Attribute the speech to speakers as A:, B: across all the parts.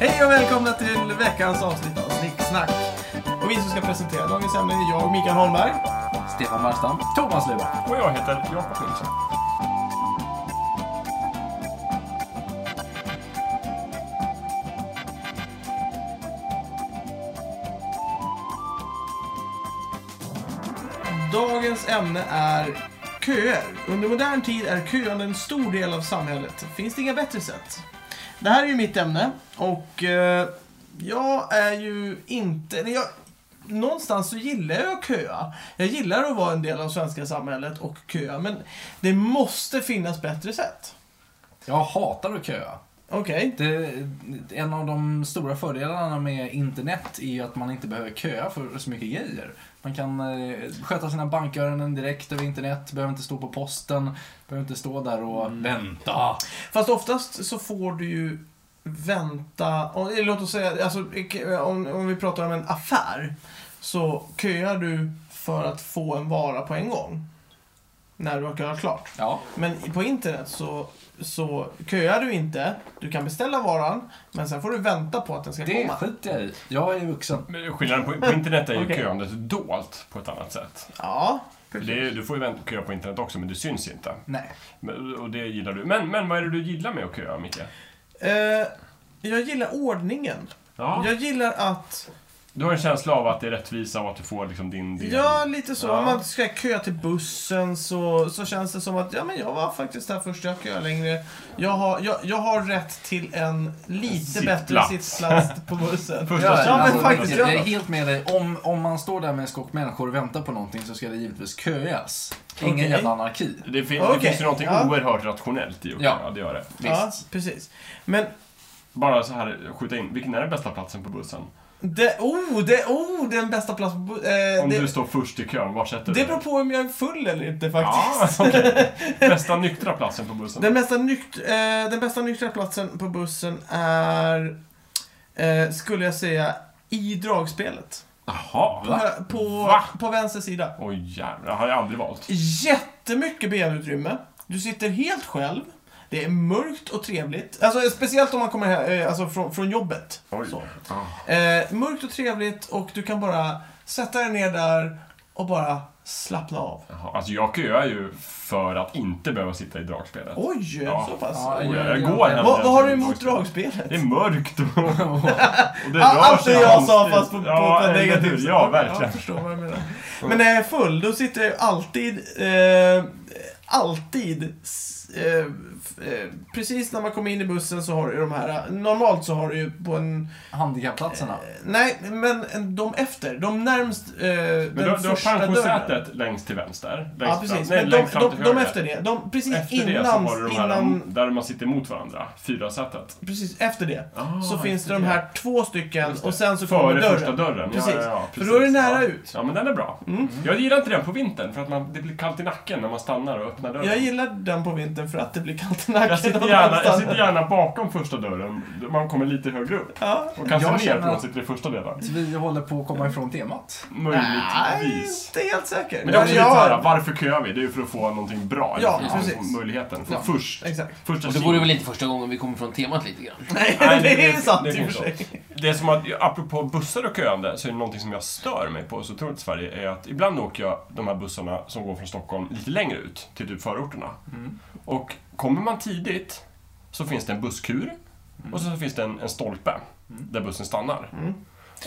A: Hej och välkomna till veckans avsnitt av Snicksnack. Och vi som ska presentera dagens ämne är jag, Mikael Holmberg,
B: Stefan Marstam.
A: Thomas Luba.
C: Och jag heter Jakob Nilsson.
A: Dagens ämne är köer. Under modern tid är köande en stor del av samhället. Finns det inga bättre sätt? Det här är ju mitt ämne och eh, jag är ju inte... eller Jag, någonstans så gillar jag att köa. Jag gillar att vara en del av svenska samhället och köa, men det måste finnas bättre sätt.
B: Jag hatar att köa.
A: Okej.
B: Det, en av de stora fördelarna med internet är ju att man inte behöver köa för så mycket grejer. Man kan eh, sköta sina bankärenden direkt över internet, behöver inte stå på posten, behöver inte stå där och
A: Mm.
B: vänta.
A: Fast oftast så får du ju vänta, om- eller låt oss säga, alltså, om, om vi pratar om en affär, så köar du för att få en vara på en gång. När du har köat klart.
B: Ja,
A: Men på internet så, så köar du inte, du kan beställa varan, men sen får du vänta på att den ska
B: det
A: komma.
B: skiter jag i. Jag är vuxen.
C: Men Skillnaden på, på internet är ju
A: Okej.
C: köandet dolt på ett annat sätt.
A: Ja,
C: För
A: precis.
C: Det är, du får ju vänta köa på internet också, men det syns inte.
B: Nej.
C: Men, och det gillar du. Men, men vad är det du gillar med att köa, Micke?
A: Eh, jag gillar ordningen.
C: Ja.
A: Jag gillar att
C: Du har en känsla av att det är rättvisa och att du får liksom din del.
A: Ja, lite så.
C: Ja.
A: Om man ska köa till bussen så, så känns det som att ja, men jag var faktiskt här först, jag köar längre. Jag har, jag, jag har rätt till en lite
C: Sittplats.
A: bättre sittplats på bussen.
C: Första
B: Ja,
A: Ja, men
B: alltså,
A: faktiskt,
B: jag
A: ja.
B: är helt med dig. Om, om man står där med en skock människor och väntar på någonting så ska det givetvis köas. Ingen
A: Okej.
B: jävla anarki.
C: Det, fin-
A: Okej.
C: det finns ju någonting
A: Ja.
C: oerhört rationellt i att
B: Ja.
C: köa, det gör det.
A: ja,
B: Visst.
A: precis. Men
C: Bara så här, skjuta in. Vilken är den bästa platsen på bussen? det-
A: det, oh, det, oh, den bästa platsen på bu- eh,
C: Om du
A: det,
C: står först i kön, var sätter du
A: det beror på om jag är full eller inte faktiskt.
C: Typ. Ja, okej. Bästa nyktra platsen på bussen?
A: Den, bästa nykt, eh, den bästa nyktra platsen på bussen är, eh, skulle jag säga, i dragspelet.
C: Jaha.
A: På, hö- på,
C: Va?
A: på vänster sida.
C: Oj jävlar, det har jag aldrig valt.
A: jättemycket benutrymme. Du sitter helt själv. Det är mörkt och trevligt. Alltså, speciellt om man kommer här, eh, alltså, från, från jobbet.
C: Oj.
A: Så.
C: Ah.
A: Eh, mörkt och trevligt och du kan bara sätta dig ner där och bara slappna av.
C: Jaha, Alltså jag köar ju för att inte behöva sitta i dragspelet.
A: Oj,
C: Ja.
A: så pass.
B: Ja,
C: Oj,
B: jag-
C: jag
B: jag-
C: går
B: jag-
C: hellre
A: vad, vad har du
C: till
A: emot dragspelet?
C: Det är mörkt och, och det
A: Ah,
C: rör
A: Allt det
C: sig
A: jag sa
C: konstigt.
A: fast på, på
C: ja,
A: ett
C: eller
A: negativt
C: hur? Ja,
A: Jag
C: verkligen.
A: förstår vad jag menar. Men när jag är full, då sitter jag ju alltid... Eh, alltid... s- Eh, f- eh, precis när man kommer in i bussen så har du ju de här... Normalt så har du ju på en...
B: Handikappplatserna.
A: Nej, men de efter. De närmst... Eh,
C: Men
A: den
C: du, du har
A: första dörren.
C: pensionsätet längst till vänster. Längst
A: Ja, precis.
C: fram- nej,
A: Men de,
C: längst fram
A: de,
C: till
A: de
C: höger.
A: efter det. De, precis
C: Efter det så
A: innan...
C: har du de här
A: innan
C: där man sitter mot varandra. Fyra sätet.
A: precis efter det.
C: Ah,
A: så finns
C: efter
A: det de
C: det.
A: här två stycken
C: Just det.
A: och sen så kommer
C: Före
A: dörren.
C: första dörren.
A: Precis.
C: Ja, ja, ja,
A: För då är det
C: precis.
A: nära
C: ja.
A: ut.
C: Ja, men den är bra.
A: Mm.
C: Jag gillar inte den på vintern för att man, det blir kallt i nacken när man stannar och öppnar dörren.
A: Jag gillar den på vintern för att det blir kallt i nacken.
C: Jag sitter,
A: om
C: gärna, jag
A: nästan-
C: sitter gärna bakom första dörren. Man kommer lite högre upp.
A: Ja.
C: Och kanske
B: Jag
C: ner
B: känner
C: för man
B: att-
C: sitter i första delen.
B: Så Vi håller på att komma ifrån temat.
A: Nej,
C: Möjligtvis.
A: inte helt säker.
C: Men det är också
A: Ja,
C: lite
A: ja,
C: såhär, varför köar vi? Det är ju för att få någonting bra.
A: Ja,
C: eller för att få
A: precis.
C: Möjligheten. Få
D: Ja.
C: först.
A: Exakt.
C: Första
D: Och det vore
C: kilen.
D: väl inte första gången vi kommer från temat lite grann.
A: Nej,
C: Nej,
A: det, är
C: det-
A: sant
C: det
A: i
C: är
A: och för sig.
C: Det är som att, apropå bussar och köande, så är det någonting som jag stör mig på så otroligt i Sverige, är att ibland åker jag de här bussarna som går från Stockholm lite längre ut, till typ förorterna. Och kommer man tidigt så finns det en busskur och så finns det en, en stolpe där bussen stannar.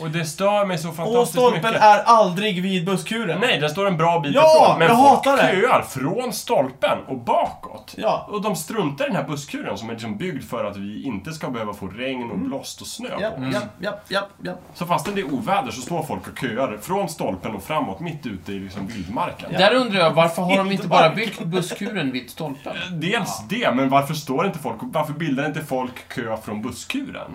C: Och det stör mig så
A: Och
C: fantastiskt
A: Mm. stolpen
C: mycket.
A: är aldrig vid busskuren.
C: Nej, den står en bra bit
A: Ja,
C: ifrån. Men
A: jag
C: folk
A: hatar det.
C: köar från stolpen och bakåt.
A: Ja.
C: Och de struntar i den här busskuren som är liksom byggd för att vi inte ska behöva få regn och
A: Mm.
C: blåst och snö
A: Ja,
C: på.
A: ja, ja, ja, ja.
C: Så fastän det är oväder så står folk och köar från stolpen och framåt mitt ute i liksom vildmarken.
D: Där undrar jag, varför har de
A: Inte
D: inte bara
A: bara-
D: byggt busskuren vid stolpen?
C: Dels det, men varför står inte folk varför bildar inte folk kö från busskuren?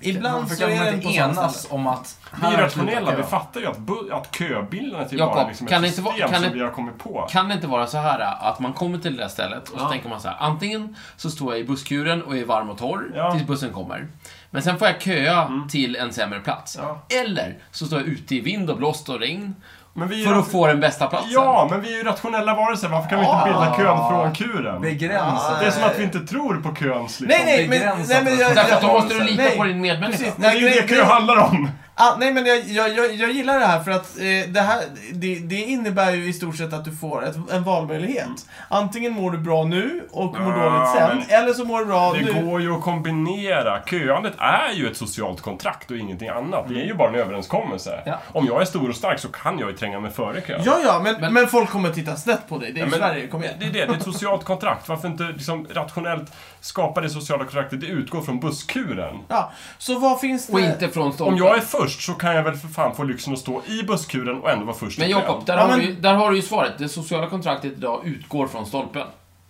A: Ibland
B: Varför
A: så
B: kan
A: är
B: man
A: den
B: inte
A: på samma
B: enas
A: ställe.
B: om att...
C: Vi är
B: här slutar
C: rationella, vi
B: kö.
C: fattar ju att, bu- att köbildandet är bara
D: Jakob,
C: liksom
D: kan det
C: ett
D: inte
C: system
D: vara- kan
C: som
D: det-
C: vi har kommit på.
D: Kan det inte vara så här att man kommer till det där stället och så
C: Ja.
D: tänker man så här, antingen så står jag i busskuren och är varm och torr
C: Ja. Mm.
D: tills bussen kommer. Men sen får jag köa till en sämre plats.
C: Ja.
D: Eller så står jag ute i vind och blåst och regn
C: Men vi är
D: För
C: ju
D: att få den bästa platsen.
C: Ja, men vi är ju rationella varelser. Varför kan vi inte bilda kön från kuren?
B: Begränsat.
C: Det är som att vi inte tror på köns liksom.
A: Nej, nej, men...
B: Begränsat
A: Nej, men jag,
D: Därför att då
A: jag,
C: har-
D: måste du lita
A: Nej,
D: på din medmänniska.
A: precis.
C: Men det är ju det
A: Nej,
C: kö
A: nej.
C: handlar om.
A: ah, nej, men jag, jag, jag, jag gillar det här för att eh, det här det, det innebär ju i stort sett att du får ett, en valmöjlighet. Antingen mår du bra nu och mår
C: Mm. Ja,
A: dåligt sen,
C: men-
A: eller så mår du bra
C: Det
A: nu.
C: går ju att kombinera. Köandet är ju ett socialt kontrakt och ingenting annat. Det är ju bara en överenskommelse.
B: Ja.
C: Om jag är stor och stark så kan jag ju tränga mig före kön.
A: Ja, ja, men, men,
D: Men-
A: folk kommer titta snett på dig. Det är
C: Ja,
A: ju
C: men-
A: Sverige, kom igen.
C: Det är det, det är ett socialt kontrakt. Varför inte liksom rationellt skapa det sociala kontraktet? Det utgår från busskuren.
A: Ja, så vad finns det...
D: Och inte från stolpen.
C: Om jag är först så kan jag väl för fan få lyxen att stå i busskuren och ändå vara först i
D: Men
C: kön.
D: Jakob, där,
A: Ja,
D: har
A: men-
D: du ju- där har du ju svaret. Det sociala kontraktet idag utgår från stolpen.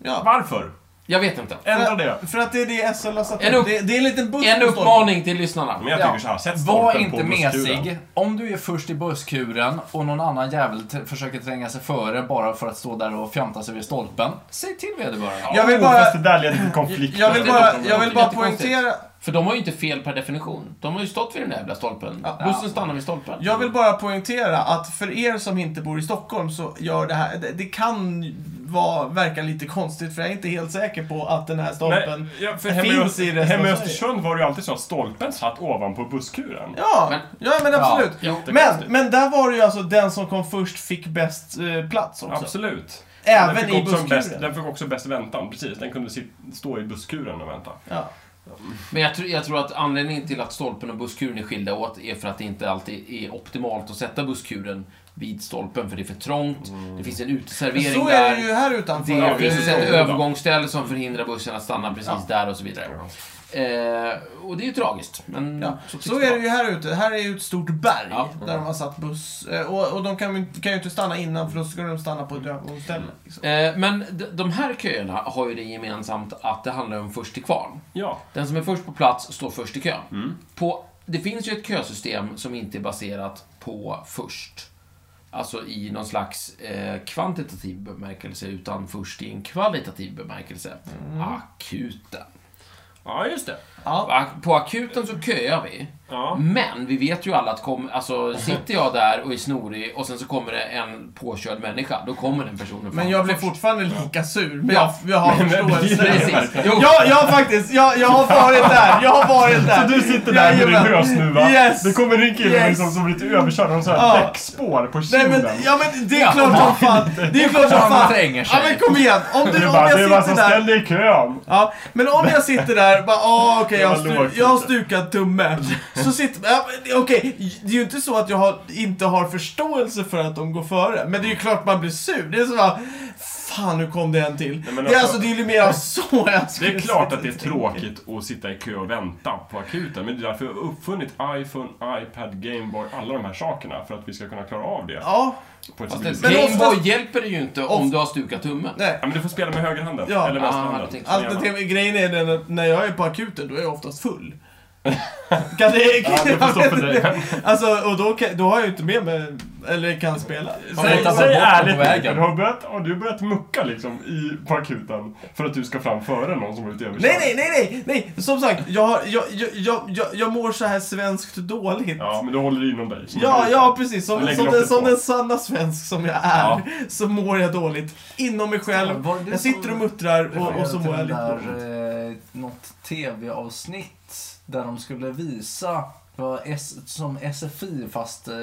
A: Ja.
C: Varför?
D: Jag vet inte.
C: Ändra det.
A: För att det är det SL har satt
D: En
A: upp.
D: upp-
A: Det, det är en liten buss
D: En
A: på stolpen.
D: uppmaning till lyssnarna.
C: Men jag
A: Ja.
C: tycker så här, sätt
B: Var
C: stolpen på
B: inte
C: busskuren.
B: mesig. Om du är först i busskuren och någon annan jävel t- försöker tränga sig före bara för att stå där och fjanta sig vid stolpen. Säg till vederbörande.
A: Jag vill
C: Oh,
A: bara-
C: fast det där leder till konflikter.
A: Jag vill
D: Det är
A: bara,
D: något-
A: jag vill
D: det är
A: bara
D: jättekonstigt.
A: poängtera...
D: För de har ju inte fel per definition. De har ju stått vid den där jävla stolpen.
A: Ja.
D: Bussen stannar vid stolpen.
A: Jag vill bara poängtera att för er som inte bor i Stockholm så gör det här, det, det kan vara, verka lite konstigt för jag är inte helt säker på att den här stolpen...
C: Nej, ja, för
A: Det
C: hemma
A: finns
C: i
A: i resten
C: hemma i
A: av
C: Östersund var det ju alltid så att stolpen satt ovanpå busskuren.
A: Ja, men,
D: Men-
A: ja, men absolut.
D: Ja,
A: men, men där var det ju alltså den som kom först fick bäst eh, plats också.
C: Absolut.
A: Även
C: den fick
A: i
C: också
A: busskuren.
C: Bäst, den fick också bäst väntan, precis. Den kunde sit, stå i busskuren och vänta.
A: Ja.
D: Men jag, tror- jag tror att anledningen till att stolpen och busskuren är skilda åt är för att det inte alltid är optimalt att sätta busskuren vid stolpen, för det är för trångt. Det finns en uteservering
A: Mm. Så
D: där.
A: är det ju här utanför.
D: Det
C: Ja,
D: finns
C: precis.
D: ett
C: Ja.
D: övergångsställe som förhindrar bussen att stanna precis där och så vidare. Eh, och det är ju tragiskt. Men
A: Ja,
D: så tycks
A: så
D: det
A: är det
D: vara.
A: ju här ute. Här är ju ett stort berg
D: Ja.
A: där de har satt buss. Eh, Och, och de kan, ju- kan ju inte stanna innan för då ska de stanna på ett övergångsställe. Liksom.
D: Eh, men d- de här köerna har ju det gemensamt att det handlar om först till kvarn.
C: Ja.
D: Den som är först på plats står först i kön.
A: Mm.
D: På, det finns ju ett kösystem som inte är baserat på först. Alltså i någon slags eh, kvantitativ bemärkelse, utan först i en kvalitativ bemärkelse.
A: Mm.
D: Akuten.
C: ja, just det.
A: Ja.
D: Ak- På akuten så köar vi.
C: Ja.
D: Men vi vet ju alla att kom, alltså, sitter jag där och är snorig och sen så kommer det en påkörd människa, då kommer den personen fram
A: Men jag blir
D: först.
A: fortfarande lika sur. Men jag,
D: Ja.
A: jag har
C: Men- men-
A: förståelse.
D: Precis. Jo,
A: Ja, jag har faktiskt. Jag, jag har varit där. Jag har varit där.
C: Så du sitter där med din
A: Jajamän.
C: hösnuva.
A: Yes.
C: Det kommer en kille
A: Yes.
C: liksom, som blir lite överkörd och så här
A: Ja.
C: däckspår på
A: Nej
C: kinden.
A: men, ja men det är
D: Ja,
A: klart som
D: man-
A: fan. Det är klart som
B: Man
A: fan.
B: tränger sig.
A: Ja men kom igen. Om, du,
C: det är
A: om
C: bara, det är bara
A: jag
C: så
A: sitter där.
C: ställ dig i kön.
A: Ja, men om jag sitter där bara ah, okej, jag, har
C: Det var lågt
A: stu- jag har
C: lite.
A: stukat tumme. Så sitter ja, men okej, det är ju inte så att jag har, inte har förståelse för att de går före. Men det är ju klart man blir sur. Det är så bara, fan nu kom det en till.
C: Nej, men
A: det är
C: alltså-
A: alltså, det är ju mer så jag
C: Det
A: skulle
C: är klart
A: sitta
C: att det är
A: och tänka.
C: tråkigt att sitta i kö och vänta på akuten, men det är därför jag har uppfunnit iPhone, iPad, Gameboy, alla de här sakerna för att vi ska kunna klara av det.
A: Ja,
C: På ett
D: Fast
C: civilt-
D: det-
A: Men
D: Gameboy
A: oftast-
D: hjälper det ju inte om du har stukat tummen.
A: nej.
C: Ja, men du får spela med högerhanden,
A: Ja.
C: eller
D: Ah,
C: vänsterhanden.
D: jag tänkte-
A: Alternativ, grejen är den att när jag är på akuten, då är jag oftast full. Kan det,
C: Ja, det får stå för dig.
A: Alltså, och då, kan, då har jag ju inte med mig, eller kan spela.
B: Man
C: Säg,
B: får tappa
C: säg
B: bort den
C: ärligt
B: på vägen.
C: Mikael, har, du börjat, har du börjat mucka liksom i, på akuten för att du ska fram före någon som har blivit överkörd?
A: Nej, nej, nej, nej, nej! Som sagt, jag, har- jag, jag, jag, jag, jag mår så här svenskt dåligt.
C: Ja, men du håller det inom dig.
A: Ja, ja, precis. Som,
C: Jag lägger
A: som,
C: locket
A: den, som
C: på.
A: den sanna svensk som jag är,
C: Ja.
A: så mår jag dåligt. Inom mig själv.
B: Var det
A: Jag
B: som-
A: sitter och muttrar och, och så mår jag lite dåligt.
B: där, eh, något tv-avsnitt där de skulle visa vad S, som SFI fast, eh,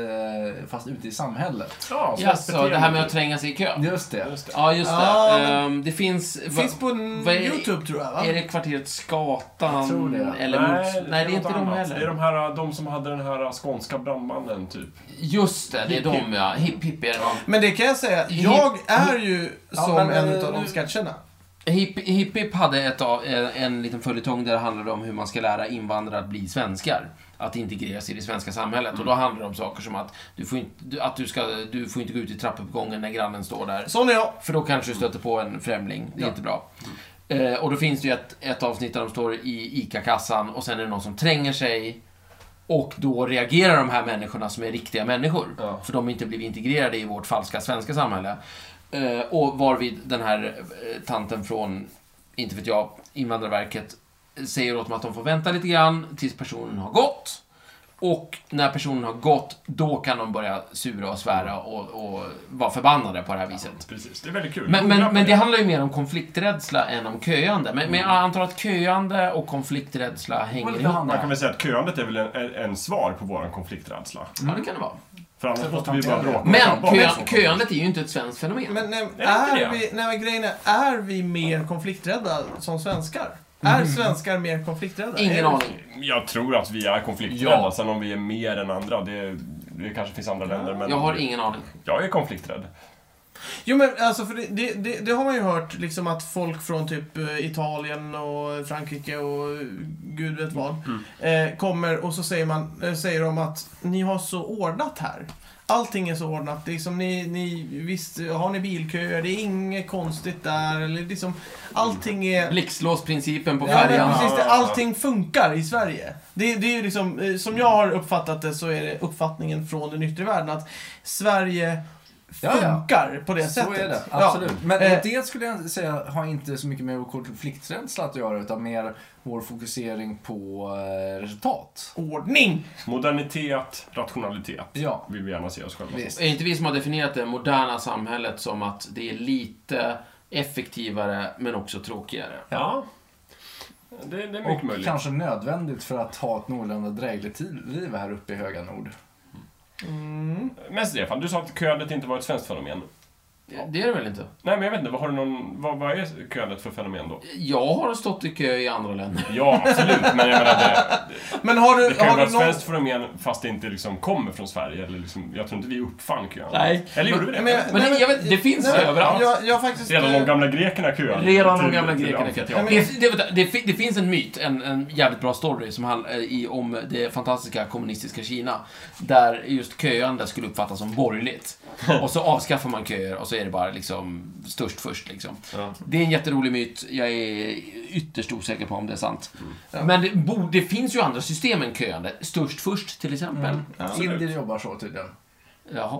B: fast ute i samhället.
C: Ja, så
D: Jaså, det här med att
C: beteende.
D: tränga sig i kö.
B: Just det.
C: Just det.
D: Ja, just det.
A: Ja, men-
D: Ehm, det finns...
A: Det
D: va-
A: finns på en
D: vad är-
A: YouTube, tror jag, va?
D: Är det kvarteret Skatan?
B: Jag tror det.
D: Eller
C: Nej,
D: mot... Nej, det är
C: något
D: inte de
C: annat.
D: heller.
C: Det är de här, de som hade den här skånska brandmannen, typ.
D: Just det, det är
C: Hipp,
D: de ja. Hipp Hipp är det någon.
A: Men det kan jag säga,
D: Hipp-
A: jag är ju
B: Ja,
A: som
B: men,
A: en
B: eh,
A: utav de
B: nu-
A: sketcherna.
D: Hipp Hipp, Hipp hade ett av, en, en liten följetong där det handlade om hur man ska lära invandrare att bli svenskar. Att integreras i det svenska samhället. Och då handlar det om saker som att du får inte, du- att du ska, du får inte gå ut i trappuppgången när grannen står där.
A: Sån är jag.
D: För då kanske du stöter på en främling. Det är
A: Ja.
D: inte bra. Eh, och då finns det ju ett, ett avsnitt där de står i ICA-kassan och sen är det någon som tränger sig. Och då reagerar de här människorna som är riktiga människor.
C: Ja.
D: För de har inte blivit integrerade i vårt falska svenska samhälle. Eh, och varvid den här eh, tanten från, inte vet jag, Invandrarverket säger åt dem att de får vänta lite grann tills personen har gått. Och när personen har gått, då kan de börja sura och svära och, och vara förbannade på det här viset.
C: Precis, det är väldigt kul.
D: Men,
C: Googla
D: men,
C: på
D: men det handlar ju mer om konflikträdsla än om köande. Men, men jag antar att köande och konflikträdsla hänger
B: lite
D: ihop.
B: hand-
D: Ja,
C: Man kan väl säga att köandet är väl en, en, en svar på vår konflikträdsla.
D: det kan det vara.
C: För annars
B: Sätt
C: måste
B: att
C: vi bara
B: hantera
C: bråka
B: det.
C: och ta
D: Men
C: bort
D: kö,
C: sånt.
D: köandet är ju inte ett svenskt fenomen.
A: Men, nej,
C: det
A: är,
C: det?
A: vi, nej, men grejen är, är vi mer konflikträdda som svenskar? Är svenskar mer konflikträdda?
D: Ingen
A: Är-
D: aning.
C: Jag tror att vi är konflikträdda,
D: Ja.
C: sen om vi är mer än andra, det, det kanske finns andra länder, men
D: Jag har ingen aning.
C: jag är konflikträdd.
A: Jo men alltså, för det, det, det, det har man ju hört liksom att folk från typ eh, Italien och Frankrike och eh, gud vet vad eh, kommer och så säger, man, eh, säger de att ni har så ordnat här. Allting är så ordnat. Det är liksom, ni, ni, visst har ni bilköer, det är inget konstigt där. Eller liksom, allting är...
D: Blixtlåsprincipen på
A: Ja, men
D: färjan.
A: precis,
C: Ja,
A: det,
C: ja, ja.
A: allting funkar i Sverige. Det, det är ju liksom, eh, som jag har uppfattat det så är det uppfattningen från den yttre världen att Sverige
B: Ja, ja.
A: funkar på det
B: Så
A: sättet.
B: är det,
A: Ja.
B: absolut. Men
A: Eh,
B: det skulle jag säga har inte så mycket med vår konflikträdsla att göra utan mer vår fokusering på eh, resultat.
A: ordning.
C: Modernitet, rationalitet,
B: Ja.
C: vill vi gärna se oss själva som.
B: Visst.
D: Är det inte vi som har definierat det moderna samhället som att det är lite effektivare men också tråkigare?
C: Ja. Det, det är mycket
B: Och
C: möjligt.
B: kanske nödvändigt för att ha ett någorlunda drägligt till- liv här uppe i höga nord.
C: Men Stefan, du sa att köandet inte var ett svenskt fenomen.
D: Det är det väl inte?
C: Nej, men jag vet inte, vad, har du någon, vad, vad är köandet för fenomen då?
D: Jag har stått i kö i andra länder.
C: Ja, absolut, men jag menar det,
A: Men har du,
C: det kan ju
A: har
C: vara
A: du
C: ett
A: någon...
C: svenskt fenomen fast det inte liksom kommer från Sverige. Eller liksom, jag tror inte vi uppfann köandet.
D: Nej.
C: Eller gjorde vi det?
D: Men det- jag vet, det finns
A: nej,
D: det överallt.
A: Jag, jag har faktiskt,
C: Redan de
A: eh,
C: gamla grekerna köade.
D: Redan de
C: Till-
D: gamla
C: till
D: grekerna
C: amfiteatern.
A: Ja, men-
D: det, det, vänta, det, fi- det finns en myt, en, en jävligt bra story, som handlar i, om det fantastiska kommunistiska Kina. Där just köande skulle uppfattas som borgerligt. Och så avskaffar man köer och så är det bara liksom störst först liksom.
C: Ja.
D: Det är en jätterolig myt. Jag är ytterst osäker på om det är sant. Men det, bo- det finns ju andra system än köande. Störst först till exempel.
B: Mm. Indier jobbar så tydligen.
D: Jaha.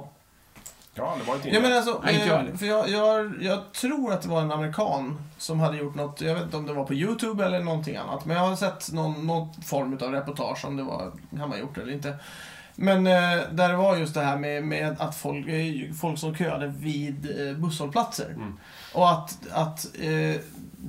C: Ja, det var ett
A: Ja, men alltså,
D: Nej, inte jag
A: eh,
D: heller.
A: för jag, jag, jag tror att det var en amerikan som hade gjort något, jag vet inte om det var på YouTube eller någonting annat, men jag har sett någon, någon form av reportage om det var hemmagjort eller inte. Men eh, där det var just det här med, med att folk, eh, folk som köade vid eh, busshållplatser.
C: Mm.
A: Och att, att eh,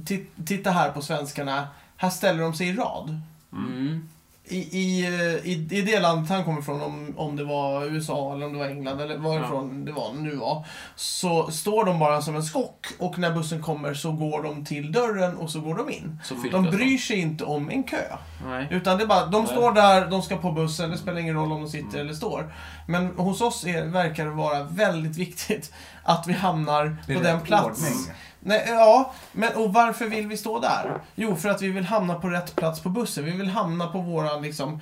A: ti- titta här på svenskarna, här ställer de sig i rad.
D: Mm.
A: I, i, eh, i, I det landet han kommer ifrån, om, om det var USA eller om det var England eller varifrån det var nu var, så står de bara som en skock och när bussen kommer så går de till dörren och så går de in.
D: Så fyllt
A: De
D: alltså.
A: bryr sig inte om en kö.
D: Nej.
A: Utan det är bara, de
D: Nej.
A: står där, de ska på bussen, det spelar ingen roll om de sitter
B: Mm.
A: eller står. Men hos oss är, verkar det vara väldigt viktigt att vi hamnar
B: Det är
A: på den
B: rätt
A: plats.
B: ordning.
D: Mm.
A: Nej, eh, ja, men och varför vill vi stå där? Jo, för att vi vill hamna på rätt plats på bussen. Vi vill hamna på våran liksom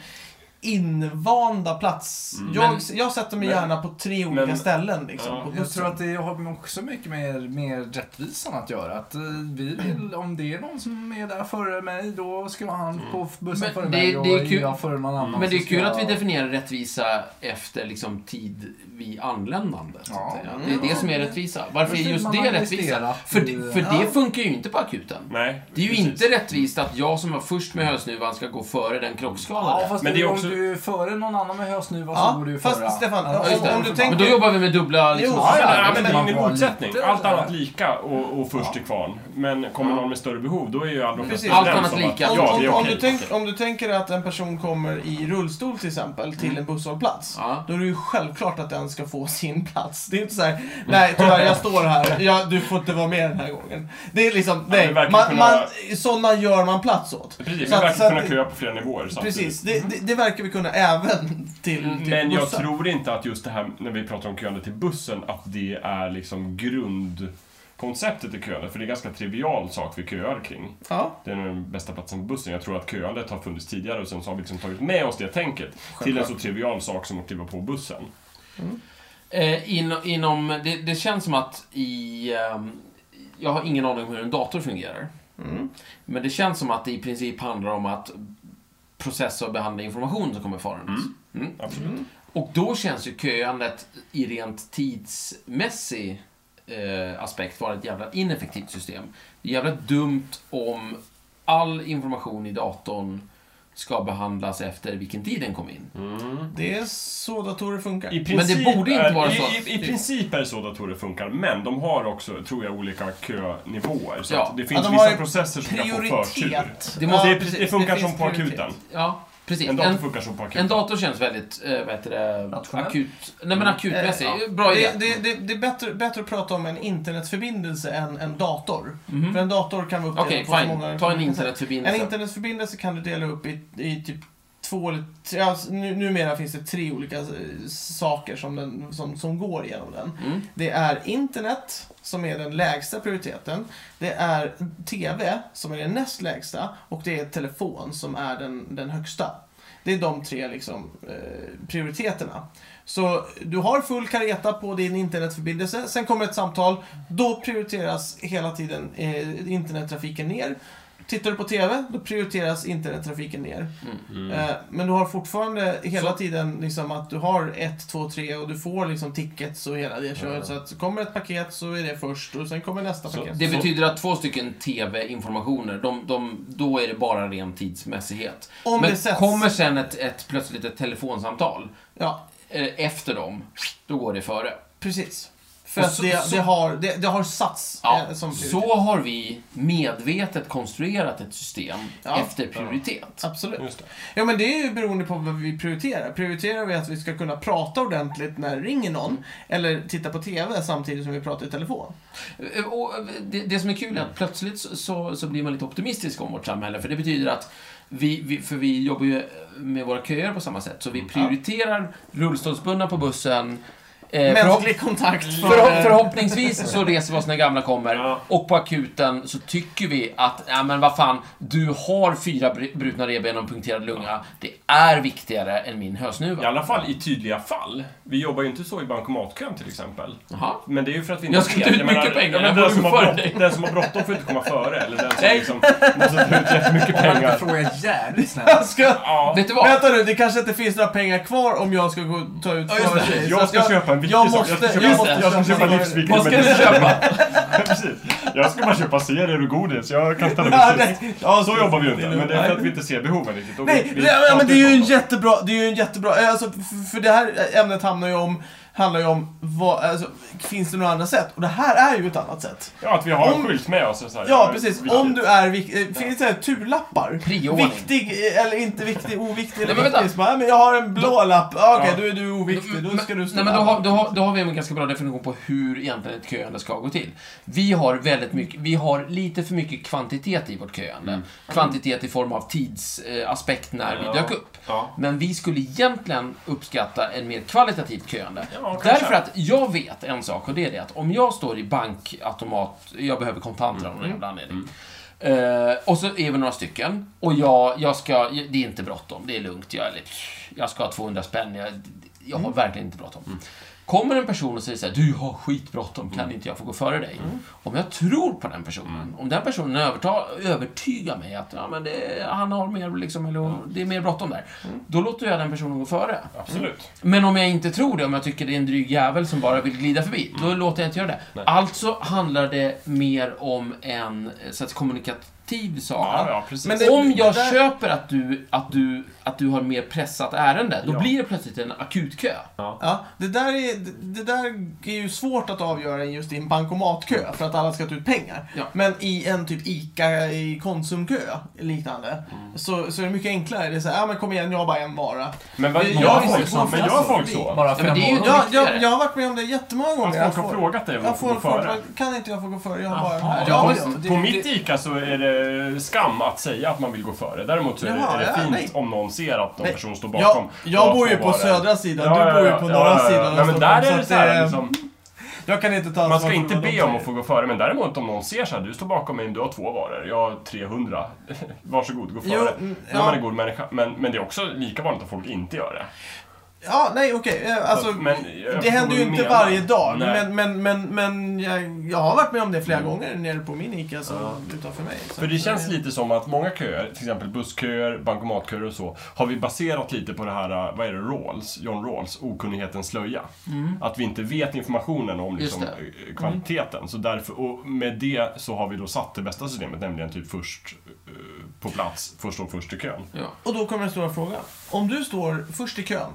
A: invanda plats. jag,
D: Men-
A: jag sätter mig
C: Mm. men-
A: gärna på tre olika
C: men-
A: ställen liksom,
C: ja,
A: på
B: Jag
A: bussen.
B: tror att det har också mycket med, med rättvisan att göra. Att eh, vi vill, om det är någon som är där före mig, då ska han
C: Mm.
B: på bussen
D: Men
B: före
D: det-
B: mig och
D: det är kul-
B: jag före någon annan.
D: Men det är
B: så
D: kul
B: ska
D: att vi
B: jag-
D: definierar rättvisa efter liksom tid vid anländandet. så att
B: Ja.
D: säga. Det är det som är rättvisa. Varför är
B: Varför
D: just
B: man
D: det
B: har
D: rättvisa?
B: investerat
D: För, det-
B: i-
D: för det
A: Ja.
D: funkar ju inte på akuten.
C: Nej,
D: Det är ju
C: precis.
D: inte rättvist att jag som var först med hösnuvan ska gå före den
B: Ja,
D: krockskadade.
B: fast
C: Men det är
B: om
C: också-
B: du är före någon annan med hösnuva
A: Ja,
B: så går du ju
A: fast
B: före.
A: Stefan,
B: Alltså,
A: om-
D: Just det.
A: om du tänker-
D: Men då jobbar vi med dubbla liksom,
A: Jo,
C: Ja,
A: Ja,
C: ja, men
A: men
C: det är
B: man
C: ingen
B: var
C: motsättning.
B: lite-
C: Allt annat lika och, och först till kvarn. Men kommer någon med större behov, då är ju allra
A: Precis.
C: flesta
A: Allt
C: överens
D: annat
C: om att,
D: lika.
C: Ja,
A: om,
C: det är
A: om, om, du
C: okej.
A: tänk, om du tänker att en person kommer i rullstol till exempel
C: Mm.
A: till en busshållplats.
D: Ja.
A: Då är det ju självklart att den ska få sin plats. Det är inte så
C: Mm.
A: här, nej tyvärr jag står här, ja, du får inte vara med den här gången. Det är liksom,
C: men
A: nej,
C: verkligen
A: man,
C: kunna-
A: man, sådana gör man plats åt.
C: Precis, vi
A: Så att- så
C: verkar
A: att
C: kunna
A: det-
C: köa på flera nivåer samtidigt.
A: Precis, det, det, det verkar vi kunna även till, till
C: Mm. Men jag
A: bussar.
C: tror inte att just det här när vi pratar om köande till bussen, att det är liksom grundkonceptet i köande. För det är en ganska trivial sak vi köar kring.
A: Ja.
C: Det är nog den bästa platsen på bussen. Jag tror att köandet har funnits tidigare och sen så har vi liksom tagit med oss det tänket till en så trivial sak som att kliva på bussen.
D: Eh, inom, inom, det, det känns som att i... ehm, jag har ingen aning om hur en dator fungerar.
A: Mm.
D: Men det känns som att det i princip handlar om att processa och behandla information som kommer farandes. Mm.
C: Absolut.
D: Och då känns ju köandet i rent tidsmässig eh, aspekt vara ett jävla ineffektivt system. Det är jävla dumt om all information i datorn ska behandlas efter vilken tid den kom in.
A: Det är så datorer funkar.
C: I
D: Men det
C: princip
D: borde inte
C: är,
D: vara
C: i,
D: så.
C: I, I princip är det så datorer funkar, men de har också, tror jag, olika könivåer. Så
D: Ja.
C: att det finns
A: de har
C: vissa
A: ju
C: processer som kan få förtur.
A: Prioritet.
D: Det måste-
A: Ja,
C: det, är- det funkar som på akuten.
D: Ja, precis.
C: En
D: En,
C: dator funkar som på akuten.
D: en dator känns väldigt, eh, vad heter det,
B: Rationell.
D: akut... Nej men akutmässig.
A: Eh, ja.
D: Bra idé.
A: det, det, det, det är bättre, bättre att prata om en internetförbindelse än en dator.
D: Mhm.
A: För en dator kan vara uppdelad
D: Okej,
A: på så många
D: fine. Ta
A: olika sätt.
D: en
C: Mm.
D: internetförbindelse.
A: En internetförbindelse kan du dela upp i, i typ två eller tre, alltså, nu, numera finns det tre olika eh, saker som, den, som, som går genom den.
D: Mm.
A: Det är internet som är den lägsta prioriteten. Det är TV som är den näst lägsta och det är telefon som är den, den högsta. Det är de tre liksom, eh, prioriteterna. Så du har full kareta på din internetförbindelse, sen kommer ett samtal, då prioriteras hela tiden eh, internettrafiken ner. Tittar du på TV, då prioriteras internettrafiken ner.
D: Mm.
A: Eh, Men du har fortfarande hela
D: Så-
A: tiden liksom att du har 1, 2, 3 och du får liksom tickets och hela det köret.
C: Ja.
A: Så att kommer ett paket så är det först och sen kommer nästa
C: Så-
A: paket.
D: Det
C: Så-
D: betyder att två stycken TV-informationer, de, de, då är det bara ren tidsmässighet.
A: Om
D: Men
A: det sätts...
D: kommer sen ett, ett plötsligt ett telefonsamtal
A: Ja,
D: eh, efter dem, då går det före.
A: precis. För
D: Och
A: att
D: så-
A: det,
D: så-
A: det, har, det, det har sats
D: Ja,
A: eh, som prioritet.
D: så har vi medvetet konstruerat ett system
A: Ja.
D: efter prioritet.
A: Absolut.
C: Just det.
A: Ja men det är ju beroende på vad vi prioriterar. Prioriterar vi att vi ska kunna prata ordentligt när det ringer någon eller titta på TV samtidigt som vi pratar i telefon?
D: Eh, Och eh, det, det som är kul är att plötsligt så, så, så blir man lite optimistisk om vårt samhälle, för det betyder att vi, vi, för vi jobbar ju med våra köer på samma sätt, så vi prioriterar rullstolsbundna på bussen, eh, förhopp- Mm.
A: Mänsklig kontakt. från-
D: Förhopp- förhoppningsvis så reser vi oss när gamla kommer
C: Ja.
D: och på akuten så tycker vi att, ja men vad fan, du har fyra br- brutna revben och en punkterad lunga. Det är viktigare än min hösnuva.
C: I alla fall i tydliga fall. Vi jobbar ju inte så i bankomatkön till exempel.
D: Jaha.
C: Men det är ju för att vi
D: Jag ska ta ut mycket
C: menar,
D: pengar,
C: ja, men
D: jag
C: den, som
D: går
C: har
D: före dig.
C: brått, den som har bråttom får inte komma före. Eller den som
D: Nej.
C: liksom måste ta ut jättemycket
B: Man
C: pengar.
B: frågar jävligt snällt.
A: Jag ska...
C: Ja.
D: Vet du vad?
A: Vänta nu, det kanske inte finns några pengar kvar om jag ska gå och ta ut
B: Ja, just det.
A: förtid. Så
C: Jag
A: att
C: ska köpa en viktig
A: jag
C: sak.
A: måste-
C: jag ska
A: jag
C: köpa,
A: måste
C: jag ska
A: köpa
C: köpa
A: en-
C: livsviktig
D: Vad ska du
C: medicin.
D: köpa?
C: Precis. Jag ska bara köpa serier och godis. Jag kan ställa
A: Ja,
C: mig sist.
A: nej. Ja,
C: Så jobbar vi ju inte.
A: är
C: Men det är för att
A: lugnt.
C: vi inte ser behoven riktigt. Och
A: Nej,
C: vi, vi
A: ja, men det är ju en
C: pratar om
A: jättebra, det är ju en jättebra, eh, alltså, f- för det här ämnet hamnar ju om, handlar ju om, vad, alltså, finns det några andra sätt? Och det här är ju ett annat sätt.
C: Ja, att vi har en
A: Om-
C: skylt med oss. och Så här,
A: Ja,
C: är
A: precis.
C: viktigt.
A: Om du är vik- eh, finns det här turlappar?
D: Prioordning.
A: Viktig eh, eller inte viktig, oviktig eller
D: Nej, men vänta.
A: viktig. Så bara, Nej, men jag har en blå lapp, Ah, okej,
C: Ja.
A: då är du oviktig, då ska du stå
D: Nej, men då,
A: där.
D: har, då, har, då har vi en ganska bra definition på hur egentligen ett köande ska gå till. Vi har, väldigt mycket, vi har lite för mycket kvantitet i vårt köande.
A: Mm.
D: Kvantitet i form av tidsaspekt när vi
C: Ja.
D: dök upp.
C: Ja.
D: Men vi skulle egentligen uppskatta en mer kvalitativt köande.
C: Ja, kanske.
D: Därför att jag vet en sak och det är det att om jag står i bankautomat, jag behöver kontanter av någon
A: Mm.
D: jävla anledning. Eh, och så är vi några stycken och jag, jag ska, det är inte bråttom, det är lugnt. Jag, eller, jag ska ha 200 spänn, jag, jag har verkligen inte bråttom. Kommer en person och säger så här, du jag har skitbråttom, kan inte jag få gå före dig? Om jag tror på den personen, om den personen övertar, övertygar mig att ja, men det, han har mer, liksom, eller, det är mer bråttom där, då låter jag den personen gå före.
C: Absolut.
D: Men om jag inte tror det, om jag tycker det är en dryg jävel som bara vill glida förbi, då låter jag inte göra det.
C: Mm. Nej.
D: Alltså handlar det mer om en eh, så att, kommunikativ sak.
C: Ja, ja, precis.
A: Men det-
D: om jag
A: det där-
D: köper att du, att, du, att du har mer pressat ärende, då
C: Ja.
D: blir det plötsligt en akutkö.
A: Ja, det där, är, det- det där är ju svårt att avgöra just i en bankomatkö för att alla ska ta ut pengar.
D: Ja.
A: Men i en typ ICA i Konsumkö liknande
D: Mm.
A: så, så är det mycket enklare. Det är så här, ja men kom igen, jag har bara en vara.
C: Men vad-
A: Jag
C: gör
A: visste
C: folk
A: det
C: så? Men gör folk så?
B: Bara
D: Ja, men
B: fem
D: det är ju-
B: år.
A: Jag,
D: viktigare.
A: jag, jag har varit med om det jättemånga gånger.
C: Att
A: Jag
C: folk har
A: får,
C: frågat dig om du
A: jag
C: får
A: får,
C: gå
A: får,
C: före.
A: kan inte jag få gå före? Jag har bara...
B: Jaha.
A: Ja,
B: Ja,
A: visst.
B: visst.
C: På
B: Det-
C: mitt ICA så är det skam att säga att man vill gå före. Däremot så är det,
A: Jaha,
C: är det
A: ja,
C: fint
A: nej.
C: om någon ser att någon
A: Nej,
C: person står
A: Jag,
C: bakom.
A: jag bor ju
C: två
A: på
C: varor.
A: södra sidan,
C: Ja, ja,
A: du bor ju
C: ja,
A: på
C: ja,
A: norra
C: ja, ja.
A: sidan
C: Nej,
A: av
C: men
A: Stockholm,
C: där är
A: så
C: det
A: att
C: så här,
A: det-
C: liksom,
A: Jag kan inte ta
C: Man
A: ansvar
C: ska
A: för Alltså,
C: inte
A: vad de
C: be om
A: säger.
C: att få gå före, men däremot om någon ser så här, du står bakom mig, du har två varor, jag har 300. Varsågod, gå
A: Jo,
C: före.
A: mm,
C: När man
A: ja.
C: är god människa. Men, men det är också lika vanligt att folk inte gör det.
A: Ja, nej okej. Eh, Alltså,
C: Men jag
A: det händer ju
C: förstår vad
A: inte
C: du
A: varje
C: menar.
A: dag.
C: Nej. Mm.
A: Men, men, men, men jag, jag har varit med om det flera gånger nere på min Ica så,
C: Ja.
A: utanför mig. Så
C: För det
A: att,
C: känns
A: eh,
C: lite som att många köer, till exempel bussköer, bankomatköer och så, har vi baserat lite på det här, äh, vad är det, Rawls, John Rawls, okunnighetens slöja.
A: Mm.
C: Att vi inte vet informationen om
D: Just
C: liksom, eh, kvantiteten. Så därför, och med det så har vi då satt det bästa systemet, nämligen typ först eh, på plats, först och först i kön.
D: Ja.
A: Och då kommer den stora frågan. Om du står först i kön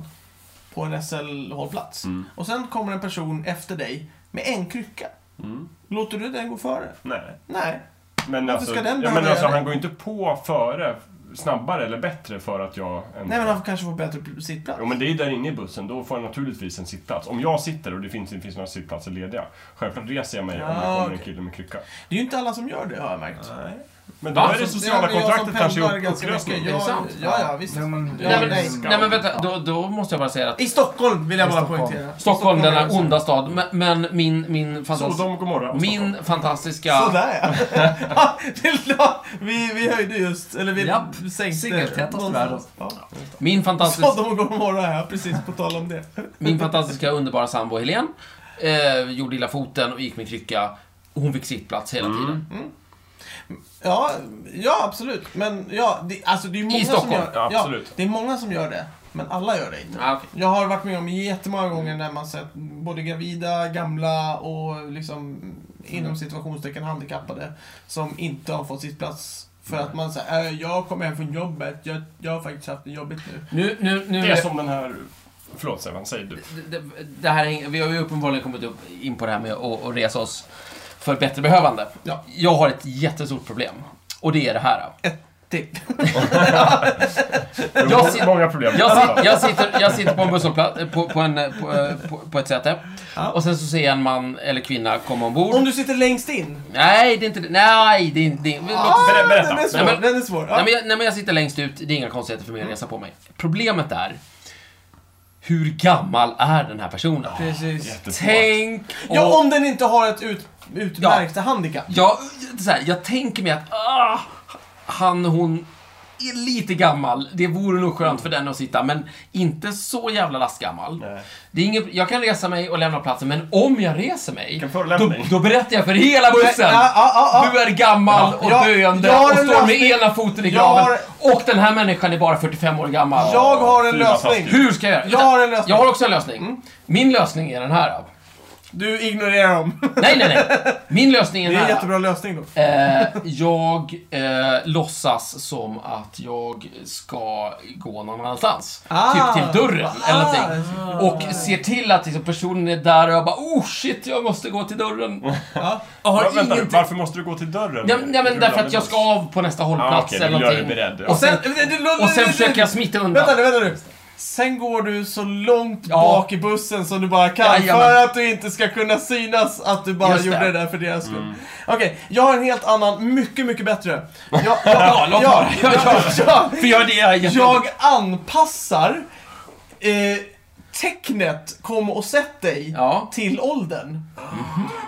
A: på en SL-hållplats
C: Mm.
A: och sen kommer en person efter dig med en krycka.
C: Mm.
A: Låter du den gå före?
C: Nej.
A: Nej.
C: Men
A: Varför
C: alltså,
A: ska den
C: ja, men
A: behöva
C: alltså
A: göra det?
C: han går ju inte på före, snabbare eller bättre för att jag... än-
A: Nej, men han får kanske få bättre sittplats.
C: Jo, men det är ju där inne i bussen, då får jag naturligtvis en sittplats. Om jag sitter och det finns, det finns några sittplatser lediga, självklart reser jag mig om det
A: Ja,
C: kommer en
A: Ah, okej.
C: krycka. kille med krycka.
A: Det är ju inte alla som gör det, har jag märkt. Nej.
C: Men då
D: Va?
C: är det
A: Alltså,
C: sociala
A: jag- jag som
C: kontraktet kanske
A: pendlar
C: upp-
A: ganska
C: upplösning.
A: mycket,
D: Är det sant?
A: Ja, ja, visst.
B: Nej, men,
A: Ja,
D: Nej, men,
A: nej.
D: nej, men vänta, då, då måste jag bara säga att
A: I Stockholm vill jag
B: I
A: bara
B: Stockholm.
A: poängtera.
D: Stockholm, denna
A: är-
D: onda stad, men, men min, min,
C: Så
D: fantas-
C: de går morgon.
D: min fantastiska...
A: Sådär ja. ja. det är klart. vi, vi höjde just, eller vi
B: Japp.
A: sänkte.
B: Cykeltätast i
A: någonstans.
B: världen.
A: Ja.
D: Min fantastiska...
A: Så de går morgon här, precis på tal om det.
D: Min fantastiska underbara sambo Helen eh, gjorde illa foten och gick med krycka. Hon fick sittplats hela
A: Mm.
D: tiden.
A: Ja, ja absolut. Men ja, det, alltså det är ju många som
D: Stockholm,
A: gör
C: ja, absolut.
A: det. är många som gör det, men alla gör det inte.
D: Ja, Ah, okej. Mm.
A: Jag har varit med om jättemånga gånger när man sett både gravida, gamla och liksom
D: Mm.
A: inom situationstecken handikappade som inte har fått sitt plats. För
D: Mm.
A: att man säger, äh, jag kommer hem från jobbet, jag, jag har faktiskt haft det jobbigt nu.
D: Nu, nu, nu...
C: Det är som den här... Förlåt Sevan, säg du.
D: det, det här, häng- vi har ju uppenbarligen kommit upp in på det här med att att resa oss för bättre behövande.
A: Ja.
D: Jag har ett jättestort problem. Och det är det här.
A: Det,
D: Mm.
C: Det
D: Jag
C: var
D: ser-
C: många problem.
D: Jag, sit, jag, sitter, jag sitter på en busshållplats, eh, på, på, en, eh, på, eh, på, på ett säte.
A: Ja.
D: Och sen så ser jag en man eller kvinna komma ombord.
A: Om du sitter längst in.
D: Nej, det är inte det. Nej, det är inte det. Låt
A: Ah!
D: oss-
C: Ber- berätta.
A: Den är svår.
D: Ah, Nej, men-
A: den är svår. Ja. Mm.
D: Nej, men jag, nej, men jag sitter längst ut. Det är inga konstigheter för mig att resa på mig. Problemet är, hur gammal är den här personen?
A: Precis.
C: Jättesvårt.
D: Tänk om...
A: Ja, om den inte har ett ut, utmärkt handikapp.
D: Jag, så här, jag tänker mig att ah, han, hon är lite gammal. Det vore nog skönt för den att sitta, men inte så jävla lastgammal.
C: Nej.
D: Det är inget, jag kan resa mig och lämna platsen, men om jag reser mig,
C: Vilken
D: då,
C: förolämpning.
D: då berättar jag för hela bussen.
A: Ja, ja, ja,
D: Du är gammal och
A: Ja,
D: döende
A: jag har
D: och
A: en
D: står med
A: lösning.
D: ena foten i
A: Jag har-
D: graven. Och den här människan är bara 45 år gammal.
A: Jag har en
C: Fy, vad
A: lösning.
C: taskigt.
D: Hur ska jag göra?
A: Jag har en Mm. lösning.
D: Jag har också en lösning. Min lösning är den här.
A: Du ignorerar dem.
D: Nej, nej, nej. Min lösning är
A: Det
D: den
A: är
D: här.
A: en jättebra lösning då.
D: Eh, jag eh, låtsas som att jag ska gå någon annanstans.
A: Ah.
D: Typ till dörren
A: Ah.
D: eller någonting. Och ser till att liksom, personen är där och jag bara oh shit, jag måste gå till dörren.
A: Ja.
D: Jag har
C: Va- vänta nu,
D: ingenting.
C: varför måste du gå till dörren?
D: Ja, men- ja, men därför att jag ska av på nästa hållplats
C: Ah, okej,
D: eller
C: du gör dig
D: någonting.
C: beredd, ja.
D: Och sen,
A: det- det- det-
D: och sen
A: det-
D: försöker
A: det-
D: jag smita undan.
A: Vänta nu, vänta nu. Sen går du så långt
D: Ja.
A: bak i bussen som du bara kan
D: Jajamän.
A: för att du inte ska kunna synas att du bara
D: Just det.
A: gjorde det där för deras skull.
C: Mm.
A: Okej, jag har en helt annan, mycket, mycket bättre. Jag, jag, ja,
D: låt höra.
A: jag, jag, jag,
D: För jag, det är
A: jag anpassar eh, tecknet kom och sätt dig
D: Ja.
A: till åldern.